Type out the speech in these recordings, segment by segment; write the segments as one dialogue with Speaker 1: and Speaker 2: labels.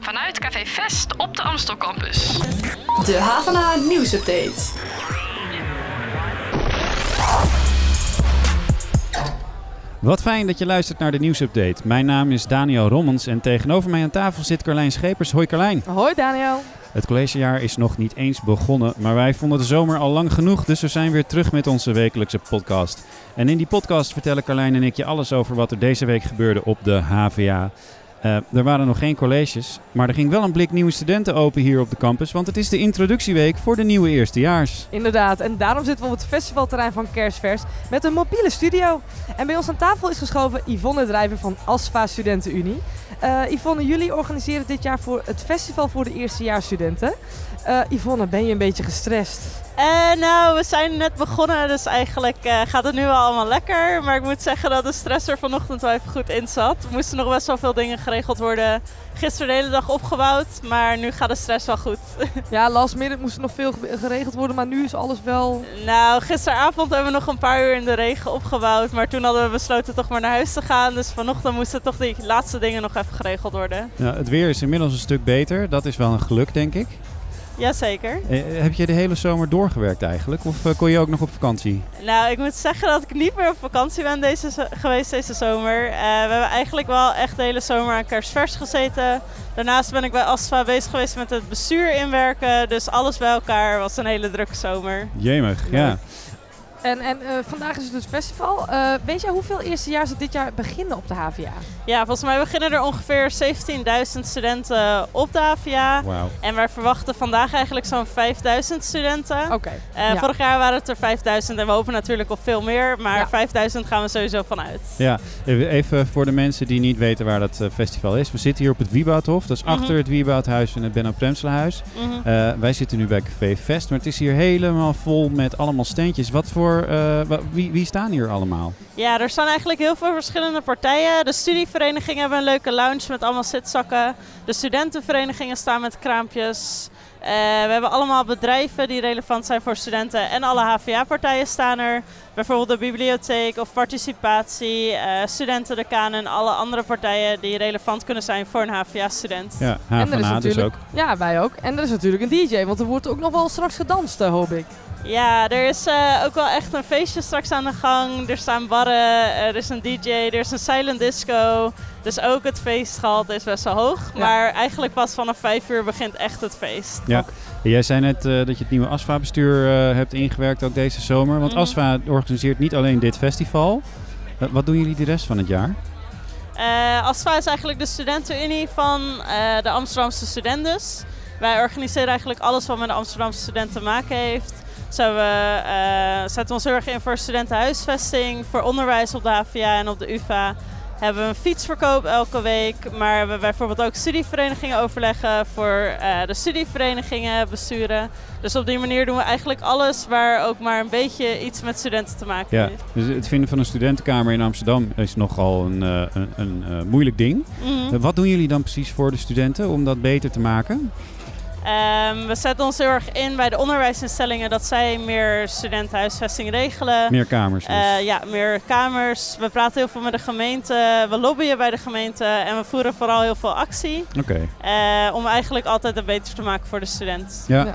Speaker 1: Vanuit Café Vest op de Amstel Campus.
Speaker 2: De Havana nieuwsupdate.
Speaker 3: Wat fijn dat je luistert naar de nieuwsupdate. Mijn naam is Daniel Rommens en tegenover mij aan tafel zit Carlijn Schepers. Hoi Carlijn.
Speaker 4: Hoi Daniel.
Speaker 3: Het collegejaar is nog niet eens begonnen, maar wij vonden de zomer al lang genoeg, dus we zijn weer terug met onze wekelijkse podcast. En in die podcast vertellen Carlijn en ik je alles over wat er deze week gebeurde op de HVA. Eh, er waren nog geen colleges, maar er ging wel een blik nieuwe studenten open hier op de campus, want het is de introductieweek voor de nieuwe eerstejaars.
Speaker 4: Inderdaad, en daarom zitten we op het festivalterrein van Kersvers met een mobiele studio. En bij ons aan tafel is geschoven Yvonne Drijver van ASFA StudentenUnie. Eh Yvonne, jullie organiseren dit jaar voor het festival voor de eerstejaarsstudenten. Eh Yvonne, ben je een beetje gestrest?
Speaker 5: Eh, nou, we zijn net begonnen, dus eigenlijk eh, gaat het nu wel allemaal lekker. Maar ik moet zeggen dat de stress er vanochtend wel even goed in zat. Er moesten nog best wel veel dingen geregeld worden. Gisteren de hele dag opgebouwd, maar nu gaat de stress wel goed.
Speaker 4: Ja, last minute moest er nog veel ge- geregeld worden, maar nu is alles wel...
Speaker 5: Nou, gisteravond hebben we nog een paar uur in de regen opgebouwd. Maar toen hadden we besloten toch maar naar huis te gaan. Dus vanochtend moesten toch die laatste dingen nog even geregeld worden.
Speaker 3: Nou, het weer is inmiddels een stuk beter, dat is wel een geluk denk ik.
Speaker 5: Jazeker.
Speaker 3: Eh, heb je de hele zomer doorgewerkt eigenlijk, of eh, kon je ook nog op vakantie?
Speaker 5: Nou, ik moet zeggen dat ik niet meer op vakantie ben deze zo- geweest deze zomer. Eh, we hebben eigenlijk wel echt de hele zomer aan kerstvers gezeten. Daarnaast ben ik bij ASFA bezig geweest met het bestuur inwerken. Dus alles bij elkaar was een hele drukke zomer.
Speaker 3: Jemig, ja.
Speaker 4: En, en eh, vandaag is het dus festival. Eh, weet jij hoeveel eerstejaars er dit jaar beginnen op de HVA?
Speaker 5: Ja, volgens mij beginnen er ongeveer 17.000 studenten op de AVA.
Speaker 3: Wauw.
Speaker 5: En wij verwachten vandaag eigenlijk zo'n 5.000 studenten.
Speaker 4: Oké.
Speaker 5: Eh,
Speaker 4: Oh, ja.
Speaker 5: Vorig jaar waren het er 5.000 en we hopen natuurlijk op veel meer. Maar
Speaker 4: Ja.
Speaker 5: 5.000 gaan we sowieso vanuit.
Speaker 3: Ja, eh, even voor de mensen die niet weten waar dat eh, festival is. We zitten hier op het Wieboudhof. Dat is achter
Speaker 5: Mhm.
Speaker 3: het Wieboudhuis en het Benno Premselenhuis.
Speaker 5: Mhm.
Speaker 3: Eh, wij zitten nu bij Café Vest, maar het is hier helemaal vol met allemaal standjes. Wat voor, eh, wa- wie, wie staan hier allemaal?
Speaker 5: Ja, er staan eigenlijk heel veel verschillende partijen. De studieverenigingen hebben een leuke lounge met allemaal zitzakken. De studentenverenigingen staan met kraampjes. Eh, we hebben allemaal bedrijven die relevant zijn voor studenten. En alle HVA-partijen staan er. Bijvoorbeeld de bibliotheek of participatie, eh studentendecaan en alle andere partijen die relevant kunnen zijn voor een HVA-student.
Speaker 3: Ja, HVA dus ook.
Speaker 4: natuurlijk- Ja, wij ook. En er is natuurlijk een DJ, want er wordt ook nog wel straks gedanst, eh, hoop ik.
Speaker 5: Ja, er is eh, ook wel echt een feestje straks aan de gang. Er staan barren, er is een DJ, er is een silent disco. Dus ook het feestgehalte is best wel hoog.
Speaker 4: Ja.
Speaker 5: Maar eigenlijk pas vanaf vijf uur begint echt het feest.
Speaker 3: Ja. Jij zei net eh, dat je het nieuwe ASFA-bestuur eh, hebt ingewerkt, ook deze zomer. Want
Speaker 5: Mhm.
Speaker 3: ASFA organiseert niet alleen dit festival. Eh, wat doen jullie de rest van het jaar?
Speaker 5: Eh, ASFA is eigenlijk de studentenunie van eh, de Amsterdamse studentes. Wij organiseren eigenlijk alles wat met de Amsterdamse student te maken heeft. Zo hebben we eh, zetten ons heel erg in voor studentenhuisvesting, voor onderwijs op de HVA en op de UvA. Hebben we een fietsverkoop elke week, maar hebben we bijvoorbeeld ook studieverenigingen overleggen voor eh, de studieverenigingen besturen. Dus op die manier doen we eigenlijk alles waar ook maar een beetje iets met studenten te maken
Speaker 3: Ja,
Speaker 5: heeft.
Speaker 3: dus het vinden van een studentenkamer in Amsterdam is nogal een, eh, een, een eh, moeilijk ding.
Speaker 5: Mhm.
Speaker 3: Eh, Wat doen jullie dan precies voor de studenten om dat beter te maken?
Speaker 5: Ehm, we zetten ons heel erg in bij de onderwijsinstellingen dat zij meer studentenhuisvesting regelen.
Speaker 3: Meer kamers dus.
Speaker 5: Eh, ja, meer kamers. We praten heel veel met de gemeente. We lobbyen bij de gemeente. En we voeren vooral heel veel actie.
Speaker 3: Oké,
Speaker 5: eh, om eigenlijk altijd het beter te maken voor de student.
Speaker 3: ja.
Speaker 4: Ja.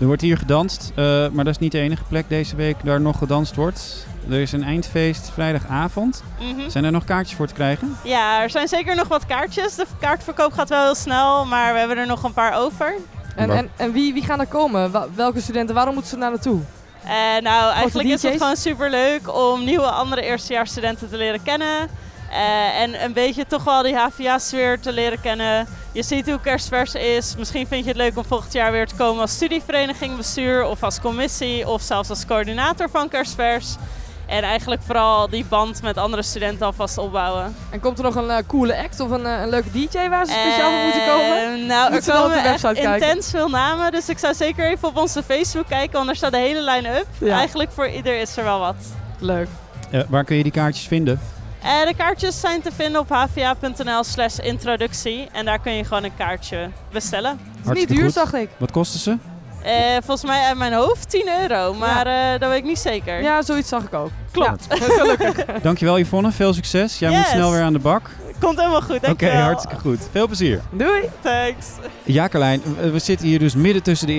Speaker 3: Er wordt hier gedanst, eh, maar dat is niet de enige plek deze week waar nog gedanst wordt. Er is een eindfeest vrijdagavond.
Speaker 5: Mhm.
Speaker 3: Zijn er nog kaartjes voor te krijgen?
Speaker 5: Ja, er zijn zeker nog wat kaartjes. De kaartverkoop gaat wel heel snel. Maar we hebben er nog een paar over.
Speaker 4: En,
Speaker 3: Waar-
Speaker 4: en, en wie, wie gaan er komen? Wa- welke studenten? Waarom moeten ze daar naartoe?
Speaker 5: Eh, nou, eigenlijk is
Speaker 4: DJ's?
Speaker 5: het gewoon super leuk om nieuwe andere eerstejaarsstudenten te leren kennen. Eh, en een beetje toch wel die HVA-sfeer te leren kennen. Je ziet hoe kerstvers is. Misschien vind je het leuk om volgend jaar weer te komen als studievereniging bestuur of als commissie of zelfs als coördinator van kerstvers. En eigenlijk vooral die band met andere studenten alvast opbouwen.
Speaker 4: En komt er nog een eh, coole act of een, eh, een leuke DJ waar ze speciaal voor moeten komen?
Speaker 5: Eh,
Speaker 4: Moeten
Speaker 5: nou, er
Speaker 4: we dan op
Speaker 5: komen
Speaker 4: de
Speaker 5: echt
Speaker 4: website kijken?
Speaker 5: intens veel namen. Dus ik zou zeker even op onze Facebook kijken, want daar staat de hele line-up.
Speaker 4: Ja.
Speaker 5: Eigenlijk voor ieder is er wel wat.
Speaker 4: Leuk.
Speaker 3: Eh, waar kun je die kaartjes vinden?
Speaker 5: Eh, de kaartjes zijn te vinden op hva.nl slash introductie. En daar kun je gewoon een kaartje bestellen.
Speaker 4: Het is niet
Speaker 3: Hartstikke
Speaker 4: duur,
Speaker 3: goed.
Speaker 4: zag ik.
Speaker 3: Wat kosten ze?
Speaker 5: Eh, volgens mij uit mijn hoofd 10 euro, maar eh, dat weet ik niet zeker.
Speaker 4: Ja, zoiets zag ik ook.
Speaker 5: Klopt.
Speaker 4: Ja, gelukkig.
Speaker 3: Dankjewel Yvonne, veel succes. Jij moet
Speaker 5: Yes.
Speaker 3: snel weer aan de bak.
Speaker 5: Komt helemaal goed,
Speaker 3: Oké,
Speaker 5: dankjewel.
Speaker 3: hartstikke goed. Veel plezier.
Speaker 4: Doei!
Speaker 5: Thanks.
Speaker 3: Jacqueline, we we zitten hier dus midden tussen de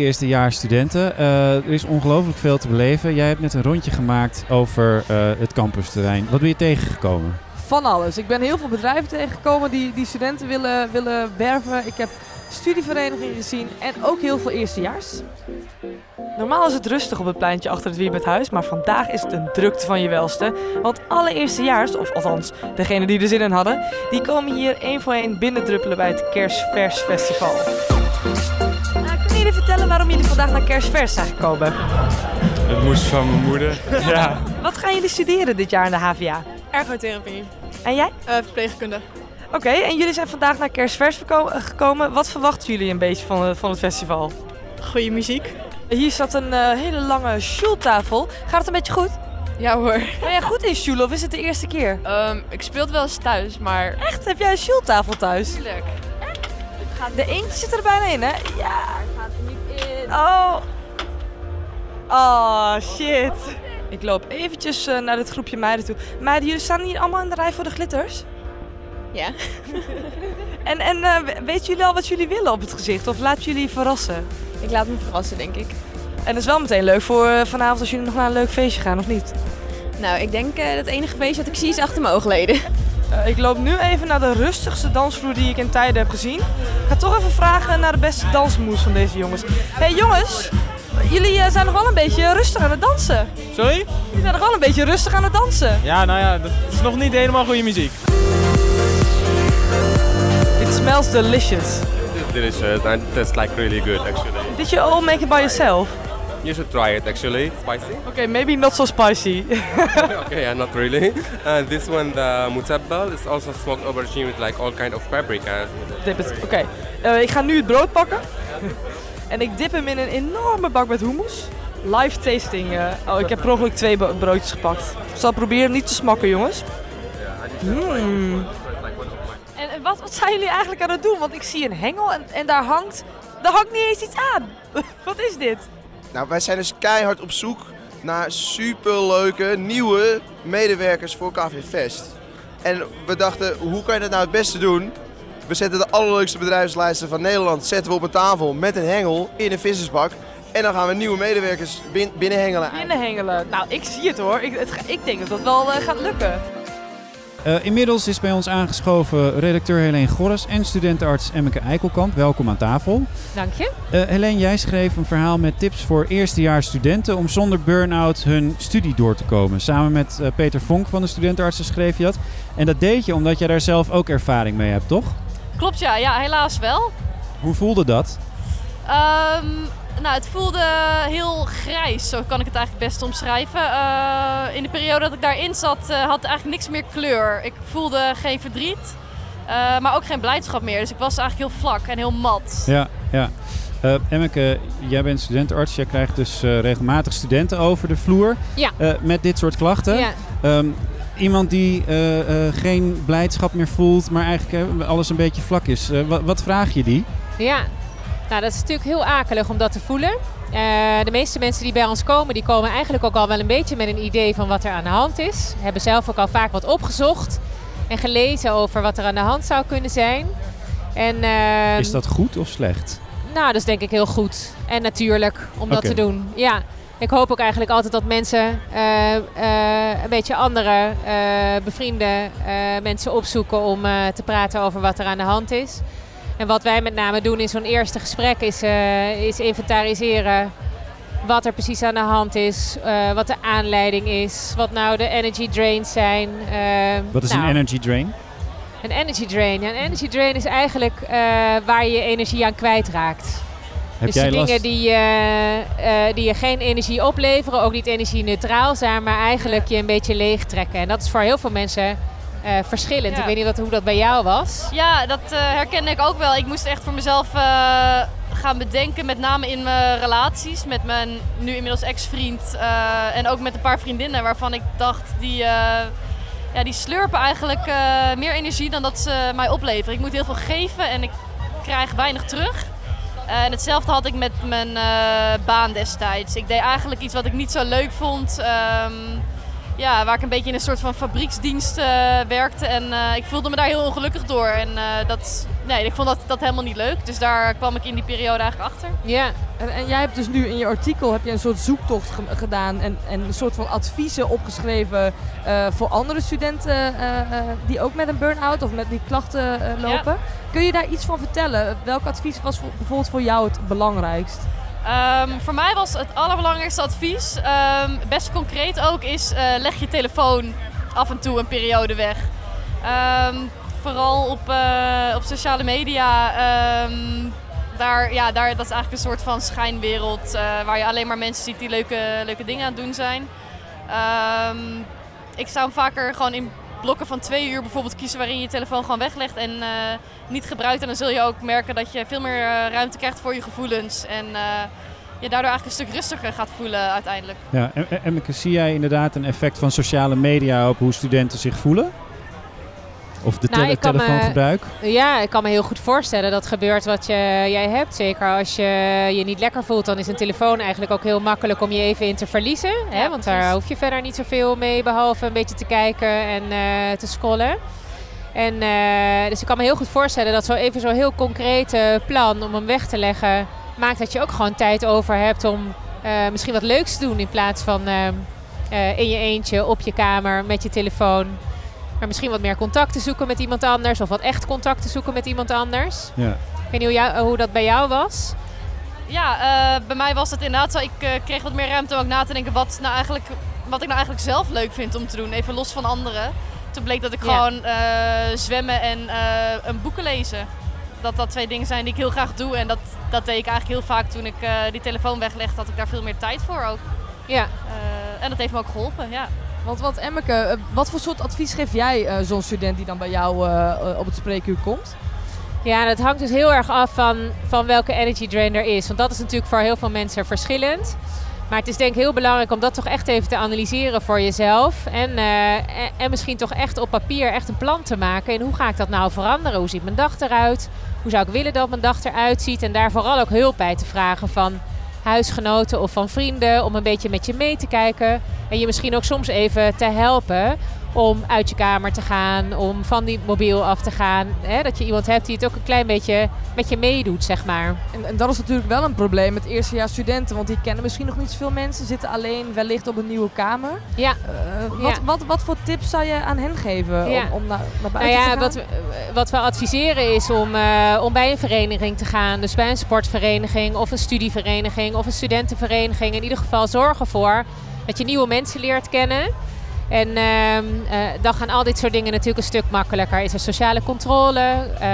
Speaker 3: eerstejaarsstudenten. Eh, er is ongelooflijk veel te beleven. Jij hebt net een rondje gemaakt over eh, het campusterrein. Wat ben je tegengekomen?
Speaker 4: Van alles. Ik ben heel veel bedrijven tegengekomen die, die studenten willen, willen werven. Ik heb studieverenigingen gezien en ook heel veel eerstejaars. Normaal is het rustig op het pleintje achter het Wiebethuis, maar vandaag is het een drukte van je welste. Want alle eerstejaars, of althans degenen die er zin in hadden, die komen hier één voor één binnendruppelen bij het Kersvers Festival. Nou, kunnen jullie vertellen waarom jullie vandaag naar Kersvers zijn gekomen?
Speaker 6: Het moest van mijn moeder. Ja.
Speaker 4: Wat gaan jullie studeren dit jaar aan de HVA?
Speaker 7: Ergotherapie,
Speaker 4: En jij?
Speaker 7: eh, verpleegkunde.
Speaker 4: Oké, en jullie zijn vandaag naar Kersvers verko- eh, gekomen. Wat verwachten jullie een beetje van, eh, van het festival?
Speaker 7: Goede muziek.
Speaker 4: Hier zat een eh, hele lange sjoeltafel. Gaat het een beetje goed?
Speaker 7: Ja hoor.
Speaker 4: Ben jij goed in sjoelen of is het de eerste keer?
Speaker 7: Ehm, ik speel het wel eens thuis, maar...
Speaker 4: Echt, heb jij een sjoeltafel thuis?
Speaker 7: Tuurlijk.
Speaker 4: De eentje zit er bijna in, hè? Ja, gaat er niet in. Oh. Oh, shit. Ik loop eventjes eh, naar het groepje meiden toe. Meiden, jullie staan hier allemaal in de rij voor de glitters?
Speaker 7: Ja.
Speaker 4: En, en eh, we- weten jullie al wat jullie willen op het gezicht? Of laat jullie verrassen?
Speaker 7: Ik laat me verrassen, denk ik.
Speaker 4: En dat is wel meteen leuk voor eh, vanavond als jullie nog naar een leuk feestje gaan, of niet?
Speaker 7: Nou, ik denk dat het enige feest dat ik zie is achter mijn oogleden.
Speaker 4: Eh, ik loop nu even naar de rustigste dansvloer die ik in tijden heb gezien. Ik ga toch even vragen naar de beste dansmoes van deze jongens. hey, jongens, jullie eh, zijn nog wel een beetje rustig aan het dansen.
Speaker 6: Sorry?
Speaker 4: Jullie zijn nog wel een beetje rustig aan het dansen.
Speaker 6: Ja, nou ja, dat is nog niet helemaal goede muziek.
Speaker 4: It smells delicious.
Speaker 8: delicious and tastes like really good actually.
Speaker 4: Did you all make it by yourself?
Speaker 8: You should try it actually. Spicy?
Speaker 4: Okay, maybe not so spicy.
Speaker 8: Okay, yeah, not really. Uh, this one, the mutabbal, is also smoked aubergine with like all kind of paprika.
Speaker 4: Dip het. Oké, eh, ik ga nu het brood pakken. en ik dip hem in een enorme bak met hummus. Live tasting. eh. oh, ik heb per ongeluk twee bo- broodjes gepakt. Ik zal proberen niet te smakken, jongens. Mm. En eh, wat, wat zijn jullie eigenlijk aan het doen? Want ik zie een hengel en, en daar hangt... Daar hangt niet eens iets aan. wat is dit?
Speaker 9: Nou, wij zijn dus keihard op zoek naar superleuke nieuwe medewerkers voor KV Fest. En we dachten, hoe kan je dat nou het beste doen? We zetten de allerleukste bedrijfslijsten van Nederland zetten we op een tafel met een hengel in een vissersbak. En dan gaan we nieuwe medewerkers bin- binnenhengelen.
Speaker 4: Binnenhengelen. Nou, ik zie het hoor. Ik, het ga- ik denk dat dat wel eh, gaat lukken.
Speaker 3: Eh, inmiddels is bij ons aangeschoven redacteur Helene Gorres en studentenarts Emmeke Eikelkamp. Welkom aan tafel.
Speaker 10: Dank je.
Speaker 3: Eh Helene, jij schreef een verhaal met tips voor eerstejaarsstudenten om zonder burn-out hun studie door te komen. Samen met eh, Peter Vonk van de studentenartsen schreef je dat. En dat deed je omdat jij daar zelf ook ervaring mee hebt, toch?
Speaker 10: Klopt ja, ja helaas wel.
Speaker 3: Hoe voelde dat?
Speaker 10: Ehm, nou, het voelde heel grijs, zo kan ik het eigenlijk best omschrijven. Eh, in de periode dat ik daarin zat, eh, had eigenlijk niks meer kleur. Ik voelde geen verdriet, eh, maar ook geen blijdschap meer. Dus ik was eigenlijk heel vlak en heel mat.
Speaker 3: Ja, ja. Eh, Emmeke, jij bent studentenarts. Jij krijgt dus eh, regelmatig studenten over de vloer
Speaker 10: Ja.
Speaker 3: eh, met dit soort klachten.
Speaker 10: Ja.
Speaker 3: Ehm, iemand die eh, eh, geen blijdschap meer voelt, maar eigenlijk eh, alles een beetje vlak is. Eh, wa- wat vraag je die?
Speaker 10: Ja, nou dat is natuurlijk heel akelig om dat te voelen. Eh, de meeste mensen die bij ons komen, die komen eigenlijk ook al wel een beetje met een idee van wat er aan de hand is. Hebben zelf ook al vaak wat opgezocht en gelezen over wat er aan de hand zou kunnen zijn. En, eh,
Speaker 3: Is dat goed of slecht?
Speaker 10: Nou, dat is denk ik heel goed en natuurlijk om dat
Speaker 3: Oké.
Speaker 10: te doen. Ja. Ik hoop ook eigenlijk altijd dat mensen eh, eh, een beetje andere eh, bevriende eh, mensen opzoeken om eh, te praten over wat er aan de hand is. En wat wij met name doen in zo'n eerste gesprek is, eh, is inventariseren wat er precies aan de hand is, eh, wat de aanleiding is, wat nou de energy drains zijn. eh,
Speaker 3: Wat is
Speaker 10: nou,
Speaker 3: een energy drain?
Speaker 10: een energy drain. Een energy drain is eigenlijk eh, waar je je energie aan kwijtraakt.
Speaker 3: Heb
Speaker 10: dus
Speaker 3: jij
Speaker 10: die
Speaker 3: last?
Speaker 10: dingen die, eh, eh, die je geen energie opleveren, ook niet energie neutraal zijn, maar eigenlijk je een beetje leeg trekken. En dat is voor heel veel mensen eh, verschillend.
Speaker 11: Ja.
Speaker 10: Ik weet niet wat, hoe dat bij jou was.
Speaker 11: Ja, dat eh, herken ik ook wel. Ik moest echt voor mezelf eh, gaan bedenken, met name in mijn relaties met mijn nu inmiddels ex-vriend eh, en ook met een paar vriendinnen waarvan ik dacht die, eh, ja, die slurpen eigenlijk eh, meer energie dan dat ze mij opleveren. Ik moet heel veel geven en ik krijg weinig terug. Eh, en hetzelfde had ik met mijn eh, baan destijds. Ik deed eigenlijk iets wat ik niet zo leuk vond. ehm, ja, waar ik een beetje in een soort van fabrieksdienst eh, werkte. En eh, ik voelde me daar heel ongelukkig door. En eh, dat, nee, ik vond dat, dat helemaal niet leuk. Dus daar kwam ik in die periode eigenlijk achter.
Speaker 4: Ja. En, en jij hebt dus nu in je artikel heb je een soort zoektocht ge- gedaan en, en een soort van adviezen opgeschreven eh, voor andere studenten eh, eh, die ook met een burn-out of met die klachten eh, lopen. Kun je daar iets van vertellen? Welk advies was voor- bijvoorbeeld voor jou het belangrijkst?
Speaker 11: Ehm, voor mij was het allerbelangrijkste advies, ehm, best concreet ook, is eh, leg je telefoon af en toe een periode weg. Ehm, vooral op, eh, op sociale media. ehm, daar, ja, daar, dat is eigenlijk een soort van schijnwereld eh, waar je alleen maar mensen ziet die leuke, leuke dingen aan het doen zijn. Ehm, ik zou hem vaker gewoon in blokken van twee uur bijvoorbeeld kiezen waarin je je telefoon gewoon weglegt en eh, niet gebruikt. En dan zul je ook merken dat je veel meer eh, ruimte krijgt voor je gevoelens. En eh, je daardoor eigenlijk een stuk rustiger gaat voelen uiteindelijk.
Speaker 3: Ja, en, en- Emmeke, zie jij inderdaad een effect van sociale media op hoe studenten zich voelen? Of de
Speaker 10: Nou,
Speaker 3: tele-
Speaker 10: ik kan me-
Speaker 3: telefoongebruik?
Speaker 10: Ja, ik kan me heel goed voorstellen dat gebeurt wat je, jij hebt. Zeker als je je niet lekker voelt, dan is een telefoon eigenlijk ook heel makkelijk om je even in te verliezen. hè? Want daar hoef je verder niet zoveel mee, behalve een beetje te kijken en eh, te scrollen. En, eh, dus ik kan me heel goed voorstellen dat zo even zo'n heel concreet eh, plan om hem weg te leggen, maakt dat je ook gewoon tijd over hebt om eh, misschien wat leuks te doen in plaats van eh, eh, in je eentje op je kamer met je telefoon. Maar misschien wat meer contact te zoeken met iemand anders. Of wat echt contact te zoeken met iemand anders.
Speaker 3: Ja.
Speaker 10: Ik weet niet hoe, jou- hoe dat bij jou was.
Speaker 11: Ja, eh, bij mij was dat inderdaad zo. Ik eh, kreeg wat meer ruimte om ook na te denken wat, nou eigenlijk, wat ik nou eigenlijk zelf leuk vind om te doen. Even los van anderen. Toen bleek dat ik
Speaker 10: Ja.
Speaker 11: gewoon eh, zwemmen en eh, een boeken lezen. Dat dat twee dingen zijn die ik heel graag doe. En dat, dat deed ik eigenlijk heel vaak toen ik eh, die telefoon weglegde. Had ik daar veel meer tijd voor ook. Eh,
Speaker 10: Ja.
Speaker 11: en dat heeft me ook geholpen, ja.
Speaker 4: Want wat Emmeke, eh, wat voor soort advies geef jij eh, zo'n student die dan bij jou eh, eh, op het spreekuur komt?
Speaker 10: Ja, dat hangt dus heel erg af van, van welke energy drain er is. Want dat is natuurlijk voor heel veel mensen verschillend. Maar het is denk ik heel belangrijk om dat toch echt even te analyseren voor jezelf. En, eh, en, en misschien toch echt op papier echt een plan te maken. En hoe ga ik dat nou veranderen? Hoe ziet mijn dag eruit? Hoe zou ik willen dat mijn dag eruit ziet? En daar vooral ook hulp bij te vragen van huisgenoten of van vrienden. Om een beetje met je mee te kijken. En je misschien ook soms even te helpen om uit je kamer te gaan, om van die mobiel af te gaan. Hè? Dat je iemand hebt die het ook een klein beetje met je meedoet, zeg maar.
Speaker 4: En, en dat is natuurlijk wel een probleem met eerstejaars studenten, want die kennen misschien nog niet zoveel mensen, zitten alleen wellicht op een nieuwe kamer.
Speaker 10: Ja.
Speaker 4: Eh, wat, Wat, wat voor tips zou je aan hen geven
Speaker 10: Ja.
Speaker 4: om, om naar, naar
Speaker 10: Nou
Speaker 4: buiten
Speaker 10: ja,
Speaker 4: te gaan?
Speaker 10: wat, we- wat we adviseren is om, eh, om bij een vereniging te gaan. Dus bij een sportvereniging of een studievereniging of een studentenvereniging. In ieder geval zorg ervoor dat je nieuwe mensen leert kennen. En ehm, eh, dan gaan al dit soort dingen natuurlijk een stuk makkelijker. Is er sociale controle? Eh,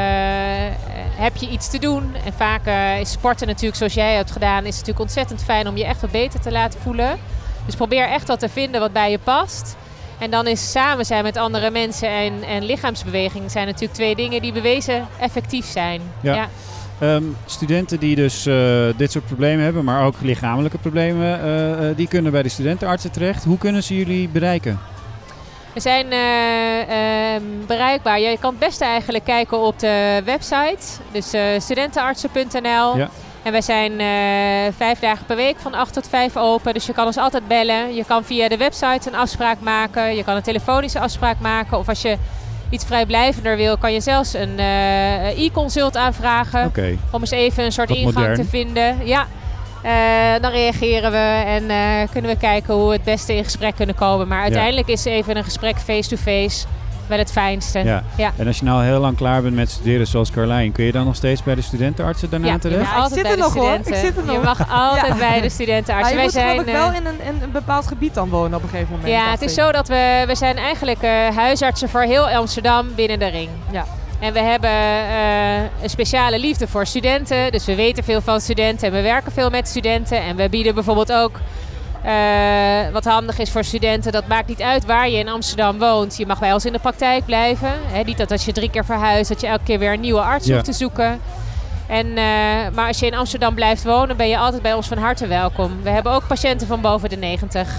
Speaker 10: heb je iets te doen? En vaak eh, is sporten natuurlijk zoals jij hebt gedaan, is het natuurlijk ontzettend fijn om je echt wat beter te laten voelen. Dus probeer echt wat te vinden wat bij je past. En dan is samen zijn met andere mensen en, en lichaamsbeweging zijn natuurlijk twee dingen die bewezen effectief zijn.
Speaker 3: Ja. Ehm, studenten die dus eh, dit soort problemen hebben, maar ook lichamelijke problemen, eh, eh, die kunnen bij de studentenartsen terecht. Hoe kunnen ze jullie bereiken?
Speaker 10: We zijn eh, ehm, bereikbaar. Je kan het beste eigenlijk kijken op de website, dus eh, studentenartsen.nl.
Speaker 3: Ja.
Speaker 10: En wij zijn eh, vijf dagen per week van 8 tot 5 open. Dus je kan ons altijd bellen. Je kan via de website een afspraak maken. Je kan een telefonische afspraak maken. Of als je iets vrijblijvender wil, kan je zelfs een eh, e-consult aanvragen.
Speaker 3: Oké.
Speaker 10: Om eens even een soort
Speaker 3: Wat
Speaker 10: ingang
Speaker 3: modern.
Speaker 10: te vinden. Ja. Eh, dan reageren we en eh, kunnen we kijken hoe we het beste in gesprek kunnen komen. Maar uiteindelijk is even een gesprek face-to-face wel het fijnste.
Speaker 3: Ja.
Speaker 10: eh, ja.
Speaker 3: En als je nou heel lang klaar bent met studeren, zoals Carlijn, kun je dan nog steeds bij de studentenartsen daarna
Speaker 10: Ja, je
Speaker 3: terecht?
Speaker 10: mag altijd
Speaker 4: zit
Speaker 10: bij
Speaker 4: er
Speaker 10: de
Speaker 4: nog, hoor. Ik
Speaker 10: studenten.
Speaker 4: zit er nog.
Speaker 10: Je mag altijd
Speaker 4: Ja.
Speaker 10: bij de studentenarts.
Speaker 4: Maar je
Speaker 10: Wij
Speaker 4: moet
Speaker 10: zijn,
Speaker 4: geloof ik wel
Speaker 10: eh,
Speaker 4: in een, een, een bepaald gebied dan wonen op een gegeven moment.
Speaker 10: Ja,
Speaker 4: dacht
Speaker 10: het is
Speaker 4: ik.
Speaker 10: zo dat we, we zijn eigenlijk eh, huisartsen voor heel Amsterdam binnen de ring.
Speaker 4: Ja.
Speaker 10: En we hebben eh, een speciale liefde voor studenten. Dus we weten veel van studenten en we werken veel met studenten. En we bieden bijvoorbeeld ook, eh, wat handig is voor studenten, dat maakt niet uit waar je in Amsterdam woont. Je mag bij ons in de praktijk blijven. Hè, niet dat als je drie keer verhuist, dat je elke keer weer een nieuwe arts
Speaker 12: Ja.
Speaker 10: hoeft te zoeken. En, eh, maar als je in Amsterdam blijft wonen, ben je altijd bij ons van harte welkom. We hebben ook patiënten van boven de 90.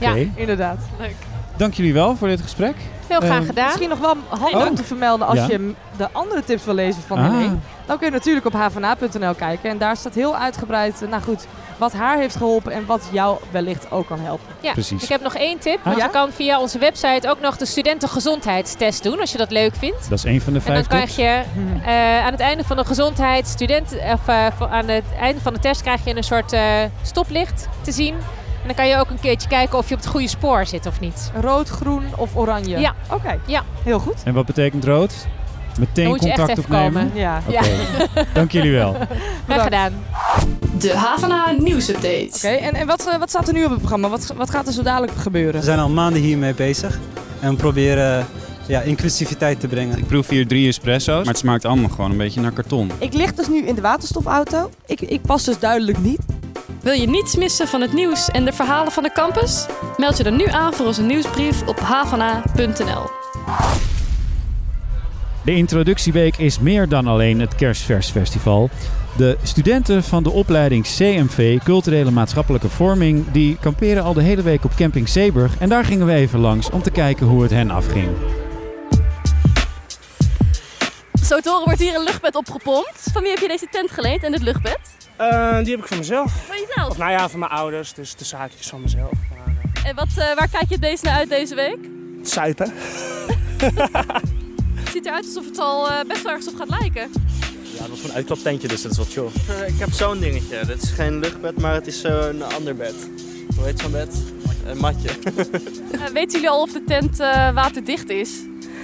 Speaker 10: Ja,
Speaker 3: Oké.
Speaker 4: inderdaad.
Speaker 11: Leuk.
Speaker 3: Dank jullie wel voor dit gesprek.
Speaker 10: Heel graag
Speaker 3: Ehm,
Speaker 10: gedaan.
Speaker 4: Misschien nog wel handig
Speaker 3: Oh.
Speaker 4: om te vermelden als
Speaker 3: Ja.
Speaker 4: je m- de andere tips wil lezen van
Speaker 3: Ah.
Speaker 4: Henning. Dan kun je natuurlijk op hvna.nl kijken. En daar staat heel uitgebreid, eh, nou goed, wat haar heeft geholpen en wat jou wellicht ook kan helpen.
Speaker 10: Ja,
Speaker 3: Precies.
Speaker 10: ik heb nog één tip. Want
Speaker 4: Ah, ja?
Speaker 10: je kan via onze website ook nog de studentengezondheidstest doen, als je dat leuk vindt.
Speaker 3: Dat is één van de
Speaker 10: En dan
Speaker 3: vijf
Speaker 10: krijg
Speaker 3: tips. Hmm.
Speaker 10: je eh, aan het einde van de gezondheidsstudent, of eh, vo- aan het einde van de test krijg je een soort eh, stoplicht te zien. En dan kan je ook een keertje kijken of je op het goede spoor zit of niet.
Speaker 4: Rood, groen of oranje?
Speaker 10: Ja.
Speaker 4: Oké.
Speaker 10: Ja.
Speaker 4: Heel goed.
Speaker 3: En wat betekent rood?
Speaker 10: Dan
Speaker 3: Meteen
Speaker 10: moet je echt
Speaker 3: contact
Speaker 10: even
Speaker 3: opnemen.
Speaker 10: komen. Ja.
Speaker 3: Oké. Dank jullie wel.
Speaker 10: Graag gedaan.
Speaker 7: De Havana nieuwsupdate.
Speaker 4: Oké, en, en wat, eh, wat staat er nu op het programma? Wat, wat gaat er zo dadelijk gebeuren?
Speaker 13: We zijn al maanden hiermee bezig en we proberen ja, inclusiviteit te brengen.
Speaker 3: Ik proef hier drie espresso's, maar het smaakt allemaal gewoon een beetje naar karton.
Speaker 4: Ik lig dus nu in de waterstofauto. Ik, ik pas dus duidelijk niet.
Speaker 14: Wil je niets missen van het nieuws en de verhalen van de campus? Meld je dan nu aan voor onze nieuwsbrief op havana.nl.
Speaker 3: De introductieweek is meer dan alleen het Kersversfestival. De studenten van de opleiding CMV Culturele Maatschappelijke Vorming die kamperen al de hele week op camping Zeeburg en daar gingen we even langs om te kijken hoe het hen afging.
Speaker 15: Zo te horen wordt hier een luchtbed opgepompt. Van wie heb je deze tent geleend en dit luchtbed?
Speaker 16: Eh, die heb ik van mezelf.
Speaker 15: Van jezelf?
Speaker 16: Of nou ja, van mijn ouders, dus de zaakjes van mezelf.
Speaker 15: En wat, eh, waar kijk je het meest naar uit deze week?
Speaker 16: Zuipen.
Speaker 15: Het ziet eruit alsof het al eh, best wel ergens op gaat lijken.
Speaker 17: Ja, dat was een uitklaptentje, dus dat is wat chill.
Speaker 18: Eh, Ik heb zo'n dingetje. Dat is geen luchtbed, maar het is zo'n ander bed. Hoe heet zo'n bed? Een matje.
Speaker 15: Eh, weten jullie al of de tent eh, waterdicht is?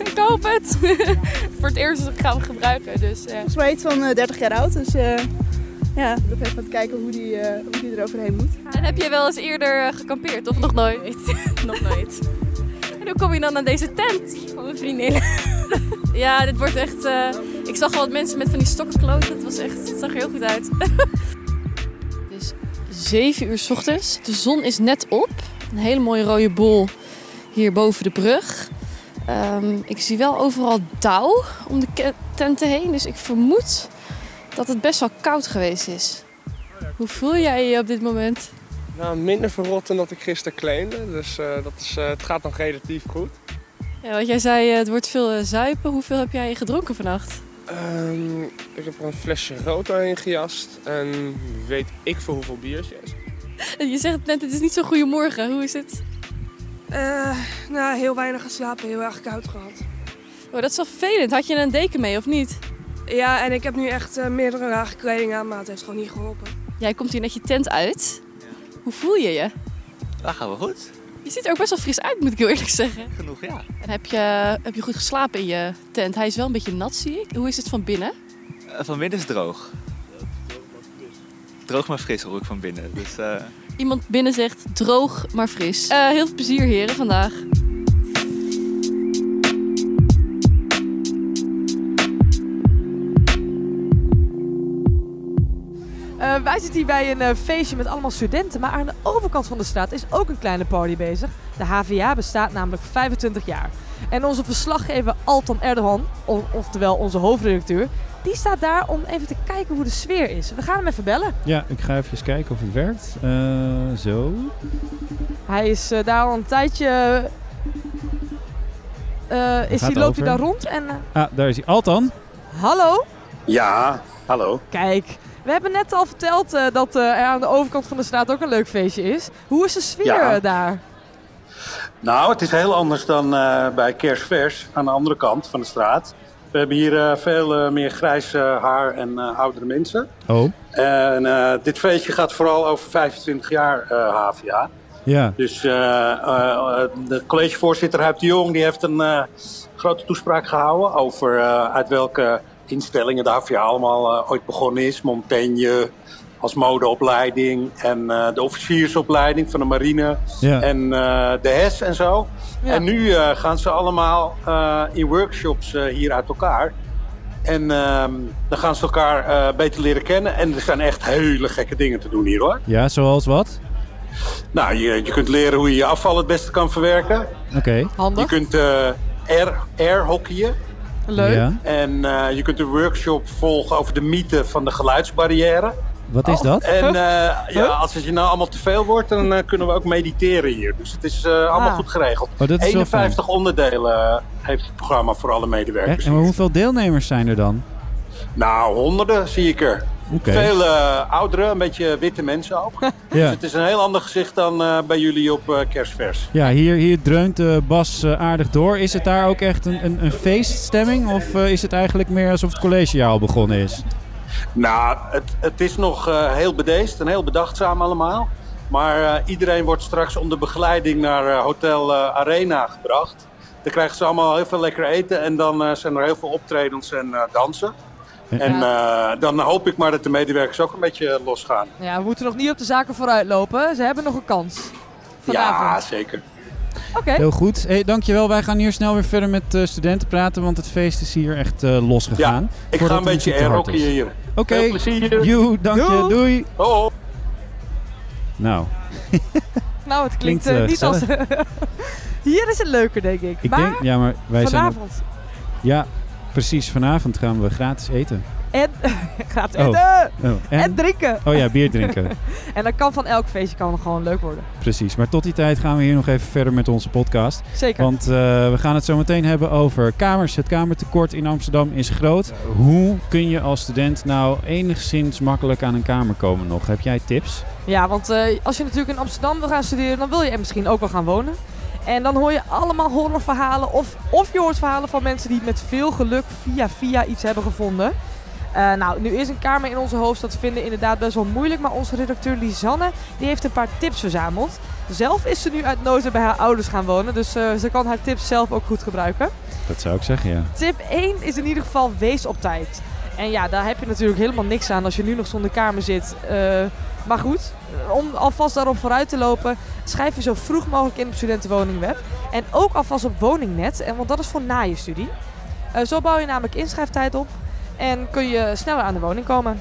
Speaker 15: Ik hoop het. Voor het eerst gaan we gebruiken. Dus, eh.
Speaker 5: Volgens mij iets van eh, 30 jaar oud, dus eh, ja, ik wil even wat kijken hoe die, eh, hoe die er overheen moet.
Speaker 15: En heb je wel eens eerder eh, gekampeerd of nog nooit? nog nooit. En hoe kom je dan aan deze tent? Van mijn vriendin. ja, dit wordt echt... eh, ik zag al wat mensen met van die stokkenkloten. Het, was echt, het zag er heel goed uit.
Speaker 11: Het is 7 uur 's ochtends. De zon is net op. Een hele mooie rode bol hier boven de brug. Ehm, ik zie wel overal dauw om de ke- tenten heen. Dus ik vermoed dat het best wel koud geweest is. Hoe voel jij je op dit moment?
Speaker 19: Nou, minder verrot dan dat ik gisteren claimde. Dus eh, dat is, eh, het gaat nog relatief goed.
Speaker 11: Ja, want jij zei, eh, het wordt veel eh, zuipen. Hoeveel heb jij gedronken vannacht?
Speaker 19: Ehm, ik heb er een flesje rood doorheen gejast. En weet ik voor hoeveel biertjes.
Speaker 11: Eh, Je zegt net, het is niet zo'n goede morgen. Hoe is het?
Speaker 20: nou, heel weinig geslapen, heel erg koud gehad.
Speaker 11: Oh, dat is wel vervelend. Had je een deken mee of niet?
Speaker 20: Ja, en ik heb nu echt eh, meerdere dagen kleding aan, maar het heeft gewoon niet geholpen.
Speaker 11: Jij komt hier net je tent uit. Hoe voel je je?
Speaker 18: Daar gaan we goed.
Speaker 11: Je ziet er ook best wel fris uit, moet ik heel eerlijk zeggen.
Speaker 18: Genoeg, ja.
Speaker 11: En heb je, heb je goed geslapen in je tent? Hij is wel een beetje nat, zie ik. Hoe is het van binnen?
Speaker 18: Eh, van binnen is het droog. Droog maar fris hoor ik van binnen. Dus, eh,
Speaker 11: Iemand binnen zegt droog, maar fris. Eh, heel veel plezier, heren, vandaag.
Speaker 4: Eh, wij zitten hier bij een eh, feestje met allemaal studenten. Maar aan de overkant van de straat is ook een kleine party bezig. De HVA bestaat namelijk 25 jaar. En onze verslaggever Altan Erdogan, o- oftewel onze hoofdredacteur, die staat daar om even te kijken hoe de sfeer is. We gaan hem even bellen.
Speaker 3: Ja, ik ga even kijken of het werkt. Eh, zo.
Speaker 4: Hij is eh, daar al een tijdje. eh, is
Speaker 3: Gaat
Speaker 4: hij, loopt
Speaker 3: over.
Speaker 4: hij daar rond? En, eh,
Speaker 3: Ah, daar is hij. Altan.
Speaker 4: hallo?
Speaker 21: Ja, hallo.
Speaker 4: Kijk, we hebben net al verteld eh, dat eh, er aan de overkant van de straat ook een leuk feestje is. Hoe is de sfeer
Speaker 21: Ja.
Speaker 4: eh, daar?
Speaker 21: Nou, het is heel anders dan eh, bij Kersvers aan de andere kant van de straat. We hebben hier eh, veel eh, meer grijs eh, haar en eh, oudere mensen.
Speaker 3: Oh.
Speaker 21: En eh, dit feestje gaat vooral over 25 jaar eh HVA.
Speaker 3: Ja.
Speaker 21: Dus eh, eh, eh, de collegevoorzitter Huip de Jong die heeft een eh, grote toespraak gehouden over eh, uit welke instellingen de HVA allemaal eh, ooit begonnen is. Montaigne als modeopleiding en eh, de officiersopleiding van de marine
Speaker 22: Ja.
Speaker 21: en eh, de HES en zo. En nu eh, gaan ze allemaal eh, in workshops eh, hier uit elkaar. En ehm, dan gaan ze elkaar eh, beter leren kennen. En er zijn echt hele gekke dingen te doen hier hoor.
Speaker 3: Ja, zoals wat?
Speaker 21: Nou, je, je kunt leren hoe je je afval het beste kan verwerken.
Speaker 3: Oké.
Speaker 21: Je kunt eh, air, air hockeyen.
Speaker 4: Leuk.
Speaker 3: Ja.
Speaker 21: En eh, je kunt een workshop volgen over de mythe van de geluidsbarrière.
Speaker 3: Wat
Speaker 21: Oh,
Speaker 3: is dat?
Speaker 21: En eh, ja, als het je nou allemaal te veel wordt, dan eh, kunnen we ook mediteren hier. Dus het is eh, allemaal
Speaker 3: Ah.
Speaker 21: goed geregeld.
Speaker 3: Oh, dat is wel
Speaker 21: 51 onderdelen eh, heeft het programma voor alle medewerkers.
Speaker 3: Echt? En maar hoeveel deelnemers zijn er dan?
Speaker 21: Nou, honderden zie ik er.
Speaker 3: Oké.
Speaker 21: Veel eh oudere, een beetje witte mensen ook. Dus het is een heel ander gezicht dan eh, bij jullie op eh, kerstvers.
Speaker 3: Ja, hier, hier dreunt eh, Bas eh, aardig door. Is het daar ook echt een, een, een feeststemming? Of eh, is het eigenlijk meer alsof het collegejaar al begonnen is?
Speaker 21: Nou, het, het is nog eh, heel bedeesd en heel bedachtzaam allemaal. Maar eh, iedereen wordt straks onder begeleiding naar eh, Hotel eh, Arena gebracht. Dan krijgen ze allemaal heel veel lekker eten en dan eh, zijn er heel veel optredens en eh, dansen. En eh, dan hoop ik maar dat de medewerkers ook een beetje eh, losgaan.
Speaker 4: Ja, we moeten nog niet op de zaken vooruit lopen. Ze hebben nog een kans.
Speaker 21: Ja, zeker.
Speaker 4: Oké.
Speaker 3: Heel goed. Hey, dankjewel. Wij gaan hier snel weer verder met eh, studenten praten, want het feest is hier echt los losgegaan.
Speaker 21: Ja, ik
Speaker 3: Voordat
Speaker 21: ga
Speaker 3: het
Speaker 21: een beetje
Speaker 3: te hard
Speaker 21: airhockey
Speaker 3: is.
Speaker 21: hier.
Speaker 3: Oké.
Speaker 21: Veel plezier.
Speaker 3: Joe, dank je.
Speaker 21: Doei.
Speaker 3: Doei.
Speaker 21: Oh.
Speaker 3: Nou,
Speaker 4: Nou, het klinkt,
Speaker 3: Klinkt, eh,
Speaker 4: eh, niet als...
Speaker 3: gezellig.
Speaker 4: Hier is het leuker, denk ik.
Speaker 3: ik
Speaker 4: maar
Speaker 3: denk... Ja, maar wij zijn...
Speaker 4: vanavond.
Speaker 3: er- Ja, precies. Vanavond gaan we gratis eten.
Speaker 4: En gaat
Speaker 3: Oh.
Speaker 4: eten.
Speaker 3: Oh,
Speaker 4: en?
Speaker 3: en?
Speaker 4: drinken.
Speaker 3: Oh ja, bier drinken.
Speaker 4: en dat kan van elk feestje kan het gewoon leuk worden.
Speaker 3: Precies, maar tot die tijd gaan we hier nog even verder met onze podcast.
Speaker 4: Zeker.
Speaker 3: Want eh, we gaan het zo meteen hebben over kamers. Het kamertekort in Amsterdam is groot. Hoe kun je als student nou enigszins makkelijk aan een kamer komen nog? Heb jij tips?
Speaker 4: Ja, want eh, als je natuurlijk in Amsterdam wil gaan studeren, dan wil je er misschien ook wel gaan wonen. En dan hoor je allemaal horrorverhalen. Of, of je hoort verhalen van mensen die met veel geluk via via iets hebben gevonden. Eh, nou, nu is een kamer in onze hoofdstad vinden inderdaad best wel moeilijk. Maar onze redacteur Lisanne, die heeft een paar tips verzameld. Zelf is ze nu uit nood bij haar ouders gaan wonen. Dus eh, ze kan haar tips zelf ook goed gebruiken.
Speaker 3: Dat zou ik zeggen, ja.
Speaker 4: Tip 1 is in ieder geval wees op tijd. En ja, daar heb je natuurlijk helemaal niks aan als je nu nog zonder kamer zit. Eh, maar goed, om alvast daarop vooruit te lopen, schrijf je zo vroeg mogelijk in op studentenwoningweb. En ook alvast op woningnet, en want dat is voor na je studie. Eh, zo bouw je namelijk inschrijftijd op en kun je sneller aan de woning komen.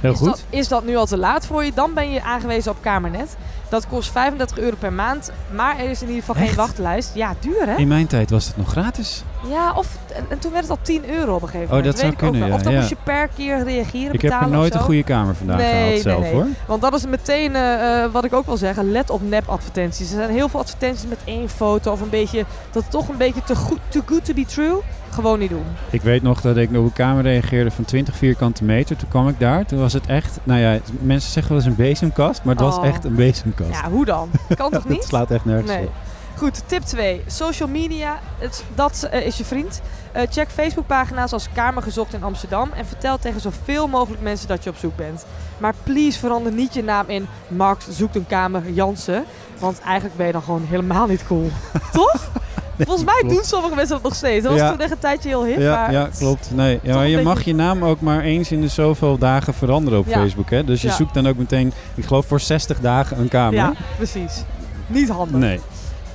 Speaker 3: Heel
Speaker 4: is
Speaker 3: goed.
Speaker 4: Dat, is dat nu al te laat voor je, dan ben je aangewezen op Kamernet. Dat kost 35 euro per maand, maar er is in ieder geval geen wachtlijst. Ja, duur hè?
Speaker 3: In mijn tijd was het nog gratis.
Speaker 4: Ja, of en, en toen werd het al 10 euro op een gegeven
Speaker 3: Oh,
Speaker 4: moment.
Speaker 3: dat zou
Speaker 4: weet ik ook
Speaker 3: kunnen,
Speaker 4: wel.
Speaker 3: ja,
Speaker 4: Of dan
Speaker 3: ja.
Speaker 4: moest je per keer reageren,
Speaker 3: Ik heb er
Speaker 4: betalen of
Speaker 3: nooit
Speaker 4: zo.
Speaker 3: een goede kamer vandaan
Speaker 4: nee,
Speaker 3: gehaald
Speaker 4: nee,
Speaker 3: zelf,
Speaker 4: nee.
Speaker 3: hoor.
Speaker 4: Want dat is meteen eh, eh, wat ik ook wil zeggen. Let op nep advertenties. Er zijn heel veel advertenties met één foto of een beetje... Dat toch een beetje te goed, too good to be true. Gewoon niet doen.
Speaker 3: Ik weet nog dat ik op een kamer reageerde van 20 vierkante meter. Toen kwam ik daar. Toen was het echt, nou ja, mensen zeggen wel eens een bezemkast. Maar het
Speaker 4: Oh.
Speaker 3: was echt een bezemkast.
Speaker 4: Ja, hoe dan? Kan toch niet?
Speaker 3: Het slaat echt nergens
Speaker 4: nee.
Speaker 3: op.
Speaker 4: Goed, tip 2. Social media, het, dat eh, is je vriend. Eh, check Facebookpagina's als Kamer Gezocht in Amsterdam en vertel tegen zoveel mogelijk mensen dat je op zoek bent. Maar please verander niet je naam in Max zoekt een kamer Jansen, want eigenlijk ben je dan gewoon helemaal niet cool. Toch? Volgens mij
Speaker 3: klopt.
Speaker 4: doen sommige mensen dat nog steeds. Dat
Speaker 3: Ja.
Speaker 4: was toen echt een tijdje heel hip,
Speaker 3: Ja,
Speaker 4: maar
Speaker 3: ja, klopt. Nee. Ja, maar je
Speaker 4: beetje-
Speaker 3: mag je naam ook maar eens in de zoveel dagen veranderen op
Speaker 4: Ja.
Speaker 3: Facebook. Hè? Dus je
Speaker 4: Ja.
Speaker 3: zoekt dan ook meteen, ik geloof voor 60 dagen een kamer.
Speaker 4: Ja, precies. Niet handig.
Speaker 3: Nee.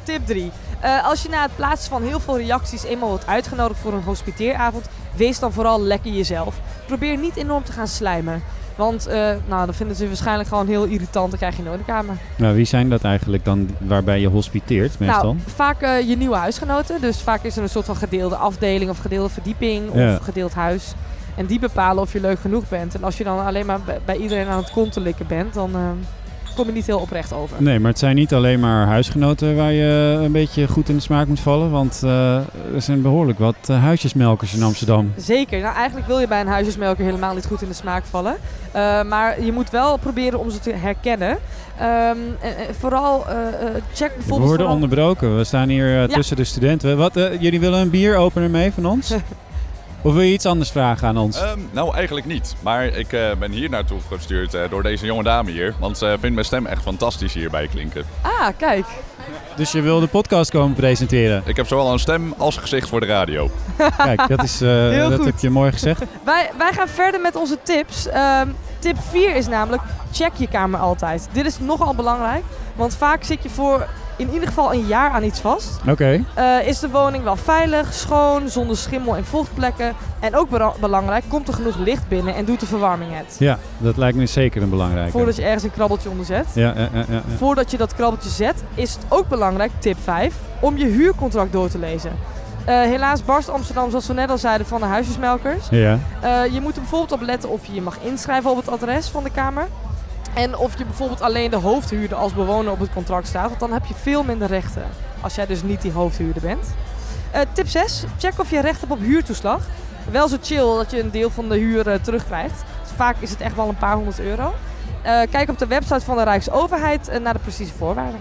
Speaker 4: Tip 3. Eh, als je na het plaatsen van heel veel reacties eenmaal wordt uitgenodigd voor een hospiteeravond, wees dan vooral lekker jezelf. Probeer niet enorm te gaan slijmen. Want eh, nou, dan vinden ze je waarschijnlijk gewoon heel irritant. Dan krijg je nooit een kamer.
Speaker 3: Nou, wie zijn dat eigenlijk dan waarbij je hospiteert meestal?
Speaker 4: Nou, vaak eh, je nieuwe huisgenoten. Dus vaak is er een soort van gedeelde afdeling of gedeelde verdieping of
Speaker 3: Ja.
Speaker 4: gedeeld huis. En die bepalen of je leuk genoeg bent. En als je dan alleen maar bij- bij iedereen aan het konten likken bent, dan eh, kom je niet heel oprecht over.
Speaker 3: Nee, maar het zijn niet alleen maar huisgenoten waar je een beetje goed in de smaak moet vallen. Want eh, er zijn behoorlijk wat eh, huisjesmelkers in Amsterdam.
Speaker 4: Zeker. Nou, eigenlijk wil je bij een huisjesmelker helemaal niet goed in de smaak vallen. Eh, maar je moet wel proberen om ze te herkennen. Ehm, en- en vooral eh, eh, check bijvoorbeeld...
Speaker 3: We worden
Speaker 4: vooral-
Speaker 3: onderbroken. We staan hier eh,
Speaker 4: Ja.
Speaker 3: tussen de studenten. Wat, eh, jullie willen een bieropener mee van ons? of wil je iets anders vragen aan ons?
Speaker 5: Ehm, nou, eigenlijk niet. Maar ik eh, ben hier naartoe gestuurd eh, door deze jonge dame hier. Want ze vindt mijn stem echt fantastisch hierbij klinken.
Speaker 4: Ah, kijk.
Speaker 3: Dus je wil de podcast komen presenteren?
Speaker 5: Ik heb zowel een stem als gezicht voor de radio.
Speaker 3: Kijk, dat, is, eh,
Speaker 5: Heel
Speaker 3: dat
Speaker 5: goed.
Speaker 3: heb je mooi gezegd.
Speaker 4: Wij, wij gaan verder met onze tips. Ehm, tip 4 is namelijk, check je kamer altijd. Dit is nogal belangrijk, want vaak zit je voor in ieder geval een jaar aan iets vast.
Speaker 3: Oké.
Speaker 4: Eh, is de woning wel veilig, schoon, zonder schimmel en vochtplekken? En ook bera- belangrijk, komt er genoeg licht binnen en doet de verwarming het?
Speaker 3: Ja, dat lijkt me zeker een belangrijke.
Speaker 4: Voordat je ergens een krabbeltje onder zet.
Speaker 3: Ja, ja, ja, ja, ja.
Speaker 4: Voordat je dat krabbeltje zet, is het ook belangrijk, tip 5, om je huurcontract door te lezen. Eh, helaas barst Amsterdam, zoals we net al zeiden, van de huisjesmelkers.
Speaker 3: Ja.
Speaker 4: Eh, je moet er bijvoorbeeld op letten of je je mag inschrijven op het adres van de kamer. En of je bijvoorbeeld alleen de hoofdhuurder als bewoner op het contract staat. Want dan heb je veel minder rechten. Als jij dus niet die hoofdhuurder bent. Eh, tip 6. Check of je recht hebt op huurtoeslag. Wel zo chill dat je een deel van de huur eh, terugkrijgt. Het vaak is het echt wel een paar honderd euro. Eh, kijk op de website van de Rijksoverheid eh, naar de precieze voorwaarden.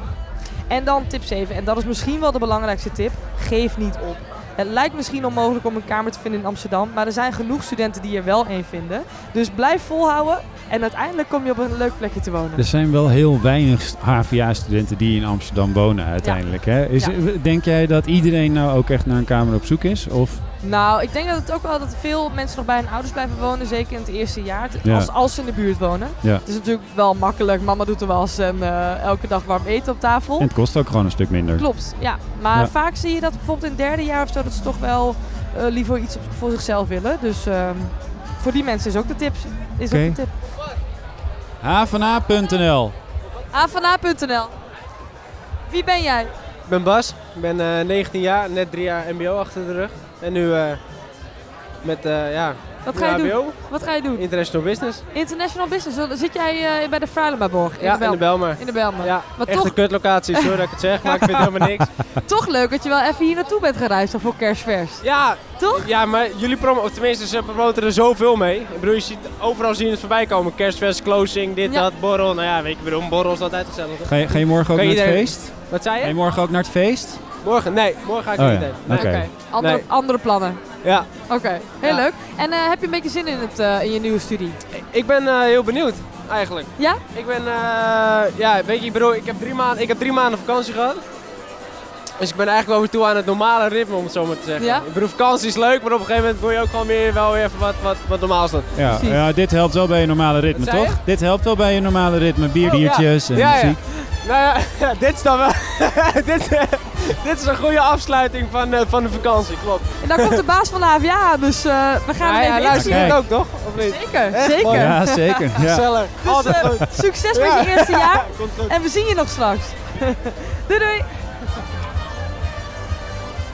Speaker 4: En dan tip 7, en dat is misschien wel de belangrijkste tip: geef niet op. Het lijkt misschien onmogelijk om een kamer te vinden in Amsterdam, maar er zijn genoeg studenten die er wel één vinden. Dus blijf volhouden en uiteindelijk kom je op een leuk plekje te wonen.
Speaker 3: Er zijn wel heel weinig HVA-studenten die in Amsterdam wonen uiteindelijk. Hè? Is,
Speaker 4: Ja.
Speaker 3: Denk jij dat iedereen nou ook echt naar een kamer op zoek is? Of
Speaker 4: Nou, ik denk dat het ook wel dat veel mensen nog bij hun ouders blijven wonen, zeker in het eerste jaar, t-
Speaker 3: Ja.
Speaker 4: als, als ze in de buurt wonen.
Speaker 3: Ja.
Speaker 4: Het is natuurlijk wel makkelijk, mama doet er wel eens een, eh, elke dag warm eten op tafel.
Speaker 3: En het kost ook gewoon een stuk minder.
Speaker 4: Klopt, ja. Maar
Speaker 3: Ja.
Speaker 4: vaak zie je dat bijvoorbeeld in het derde jaar of zo, dat ze toch wel eh, liever iets op- voor zichzelf willen. Dus ehm, voor die mensen is ook de tip. Is
Speaker 3: Oké.
Speaker 4: ook de tip.
Speaker 3: Havana.nl
Speaker 4: Avana.nl Wie ben jij?
Speaker 7: Ik ben Bas, ik ben eh, 19 jaar, net drie jaar MBO achter de rug. En nu eh, met, eh, ja,
Speaker 4: Wat ga je
Speaker 7: de
Speaker 4: doen?
Speaker 7: HBO,
Speaker 4: Wat ga je doen?
Speaker 7: International Business.
Speaker 4: International Business. Zo- Zit jij eh, bij de Fruilenbaborg?
Speaker 7: Ja, in de Bijlmer.
Speaker 4: In de Bijlmer. Ja, maar
Speaker 7: Echt
Speaker 4: toch,
Speaker 7: een kutlocatie, sorry dat ik het zeg, maar ik vind helemaal niks.
Speaker 4: toch leuk dat je wel even hier naartoe bent gereisd dan voor kerstvers.
Speaker 7: Ja, toch? Ja, maar jullie promoten, of tenminste ze promoten er zoveel mee. Ik bedoel, je ziet overal zien het voorbij komen. Kerstvest, closing, dit, dat, borrel. Nou ja, weet je, ik bedoel, een borrel is altijd gezellig.
Speaker 3: Ga je, ga je morgen ook
Speaker 7: Kan
Speaker 3: naar het
Speaker 7: iedereen-
Speaker 3: feest?
Speaker 7: Wat zei je?
Speaker 3: Ga je morgen ook naar het feest?
Speaker 7: Morgen? Nee, morgen ga ik
Speaker 3: Oh
Speaker 7: niet
Speaker 3: ja,
Speaker 7: heen. Nee.
Speaker 3: oké. Oké.
Speaker 4: Andere,
Speaker 7: Nee.
Speaker 4: andere plannen.
Speaker 7: Ja.
Speaker 4: Oké, heel leuk. En eh, heb je een beetje zin in, het, eh, in je nieuwe studie?
Speaker 7: Ik ben eh, heel benieuwd, eigenlijk.
Speaker 4: Ja?
Speaker 7: Ik ben, eh, ja, weet je, ik bedoel, ik heb, drie maanden, ik heb drie maanden vakantie gehad. Dus ik ben eigenlijk wel weer toe aan het normale ritme, om het zo maar te zeggen.
Speaker 4: Ja?
Speaker 7: Ik bedoel, vakantie is leuk, maar op een gegeven moment wil je ook gewoon weer, wel weer even wat, wat, wat normaal staat.
Speaker 3: Ja, ja, dit helpt wel bij je normale ritme,
Speaker 7: Wat zei
Speaker 3: toch? Dit helpt wel bij je normale ritme. Bierdiertjes
Speaker 7: Oh, ja.
Speaker 3: en
Speaker 7: ja, ja.
Speaker 3: muziek.
Speaker 7: Nou ja, dit is dan wel... dit, eh, dit is een goede afsluiting van, eh, van de vakantie, klopt.
Speaker 4: En daar komt de baas van de HVA aan, dus eh, we gaan
Speaker 7: Ja,
Speaker 4: er
Speaker 7: ja,
Speaker 4: even
Speaker 7: luister
Speaker 4: in.
Speaker 7: ik ook, toch? Of niet?
Speaker 4: Zeker,
Speaker 7: Echt?
Speaker 4: zeker.
Speaker 3: Ja, zeker, ja.
Speaker 7: Gezellig.
Speaker 4: Dus,
Speaker 7: Altijd
Speaker 4: eh,
Speaker 7: goed.
Speaker 4: Succes
Speaker 7: Ja.
Speaker 4: met je eerste jaar.
Speaker 7: Komt goed.
Speaker 4: En we zien je nog straks. doei doei.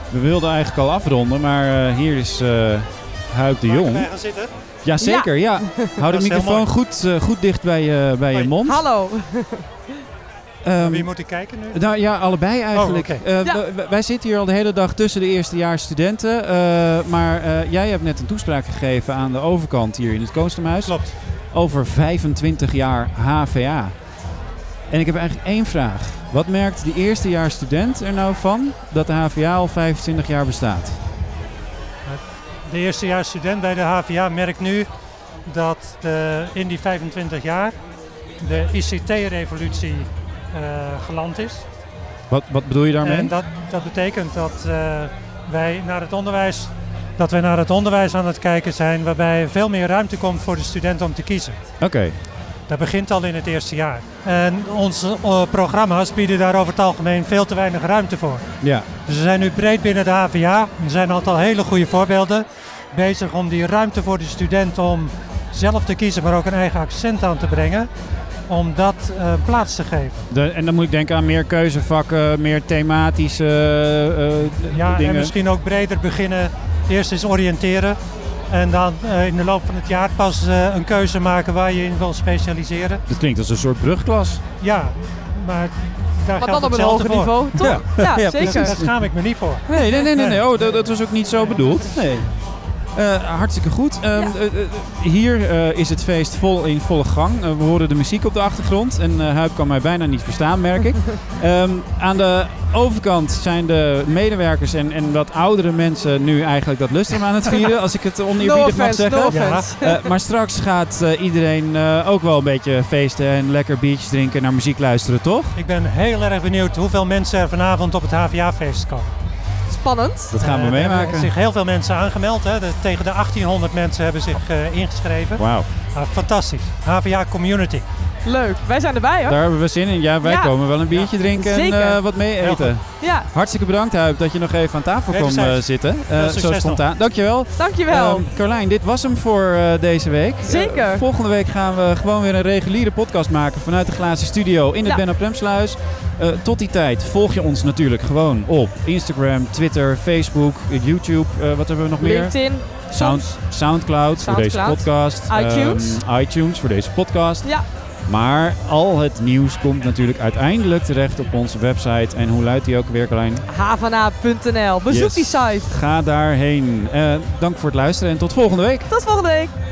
Speaker 3: We wilden eigenlijk al afronden, maar eh, hier is eh Huip de Jong.
Speaker 23: erbij gaan zitten?
Speaker 3: Jazeker, ja.
Speaker 23: Ja.
Speaker 3: Hou de
Speaker 23: Dat is heel
Speaker 3: microfoon
Speaker 23: mooi.
Speaker 3: goed, eh, goed dicht bij, je- bij je mond.
Speaker 4: Hallo.
Speaker 3: Ehm,
Speaker 23: Wie moet ik kijken nu?
Speaker 3: Nou ja, allebei eigenlijk.
Speaker 23: oké.
Speaker 3: Eh,
Speaker 23: Ja.
Speaker 3: we- we- Wij zitten hier al de hele dag tussen de eerstejaarsstudenten. studenten. eh, maar eh, jij hebt net een toespraak gegeven aan de overkant hier in het Koostemhuis. Klopt. Over 25 jaar HVA. En ik heb eigenlijk één vraag. Wat merkt de eerstejaarsstudent er nou van dat de HVA al 25 jaar bestaat?
Speaker 19: De eerstejaarsstudent bij de HVA merkt nu dat de, in die 25 jaar de ICT-revolutie eh, geland is.
Speaker 3: Wat, wat bedoel je daarmee?
Speaker 19: En dat, dat betekent dat eh, wij naar het onderwijs dat wij naar het onderwijs aan het kijken zijn, waarbij veel meer ruimte komt voor de student om te kiezen.
Speaker 3: Oké.
Speaker 19: Dat begint al in het eerste jaar. En onze eh, programma's bieden daar over het algemeen veel te weinig ruimte voor.
Speaker 3: Ja.
Speaker 19: Dus we zijn nu breed binnen de HVA. Er zijn een aantal hele goede voorbeelden bezig om die ruimte voor de student om zelf te kiezen, maar ook een eigen accent aan te brengen, om dat eh, plaats te geven.
Speaker 3: De- en dan moet ik denken aan meer keuzevakken, meer thematische eh, eh,
Speaker 19: Ja,
Speaker 3: dingen.
Speaker 19: en misschien ook breder beginnen. Eerst eens oriënteren. En dan eh, in de loop van het jaar pas eh, een keuze maken waar je in wil specialiseren.
Speaker 3: Dat klinkt als een soort brugklas.
Speaker 19: Ja, maar daar
Speaker 4: Maar
Speaker 19: geldt
Speaker 4: dan op een
Speaker 19: hetzelfde
Speaker 4: hoger
Speaker 19: voor.
Speaker 4: niveau, toch? Ja. Ja, Ja, zeker.
Speaker 19: Daar
Speaker 4: precies.
Speaker 19: schaam ik me niet voor.
Speaker 3: Nee, nee, nee, nee. nee. Oh, dat, dat was ook niet zo bedoeld. Nee. Eh, hartstikke goed. Ehm, eh, eh, hier eh, is het feest vol in volle gang. Eh, we horen de muziek op de achtergrond. En eh Huip kan mij bijna niet verstaan, merk ik. Ehm, aan de overkant zijn de medewerkers en, en wat oudere mensen nu eigenlijk dat lustrum aan het vieren. Als ik het oneerbiedig
Speaker 4: No
Speaker 3: mag
Speaker 4: offense,
Speaker 3: zeggen.
Speaker 4: no offense.
Speaker 3: Ja. Eh, maar straks gaat eh, iedereen eh, ook wel een beetje feesten en lekker biertjes drinken en naar muziek luisteren, toch?
Speaker 19: Ik ben heel erg benieuwd hoeveel mensen er vanavond op het HVA-feest komen.
Speaker 4: Spannend.
Speaker 3: Dat gaan we
Speaker 19: Eh, Er
Speaker 3: meemaken.
Speaker 19: hebben zich heel veel mensen aangemeld. Hè. De- tegen de 1800 mensen hebben zich eh, ingeschreven.
Speaker 3: Wauw.
Speaker 19: Ah, fantastisch. HVA Community.
Speaker 4: Leuk, wij zijn erbij hoor.
Speaker 3: Daar hebben we zin in. Ja, wij
Speaker 4: Ja.
Speaker 3: komen wel een biertje drinken en
Speaker 4: Zeker.
Speaker 3: eh, wat mee
Speaker 4: Heel
Speaker 3: eten.
Speaker 4: goed. Ja.
Speaker 3: Hartstikke bedankt, Huip, dat je nog even aan tafel kon eh,
Speaker 4: Wederzijds.
Speaker 3: zitten.
Speaker 4: Veel
Speaker 3: Eh,
Speaker 4: succes
Speaker 3: zo
Speaker 4: nog.
Speaker 3: spontaan. Dankjewel.
Speaker 4: Dankjewel.
Speaker 3: Ehm, Carlijn, dit was hem voor eh, deze week.
Speaker 4: Zeker.
Speaker 3: Eh, volgende week gaan we gewoon weer een reguliere podcast maken vanuit de glazen studio in het
Speaker 4: Ja.
Speaker 3: Ben op Remsluis. Eh, tot die tijd volg je ons natuurlijk gewoon op Instagram, Twitter, Facebook, eh, YouTube. Eh, wat hebben we nog meer?
Speaker 4: LinkedIn,
Speaker 3: Sound, Soundcloud, voor deze
Speaker 4: Soundcloud.
Speaker 3: podcast.
Speaker 4: iTunes.
Speaker 3: Ehm, iTunes voor deze podcast.
Speaker 4: Ja.
Speaker 3: Maar al het nieuws komt natuurlijk uiteindelijk terecht op onze website. En hoe luidt die ook weer, Carlijn?
Speaker 4: Havana.nl. Bezoek
Speaker 3: Yes.
Speaker 4: die site.
Speaker 3: Ga daarheen. Eh, dank voor het luisteren en tot volgende week.
Speaker 4: Tot volgende week.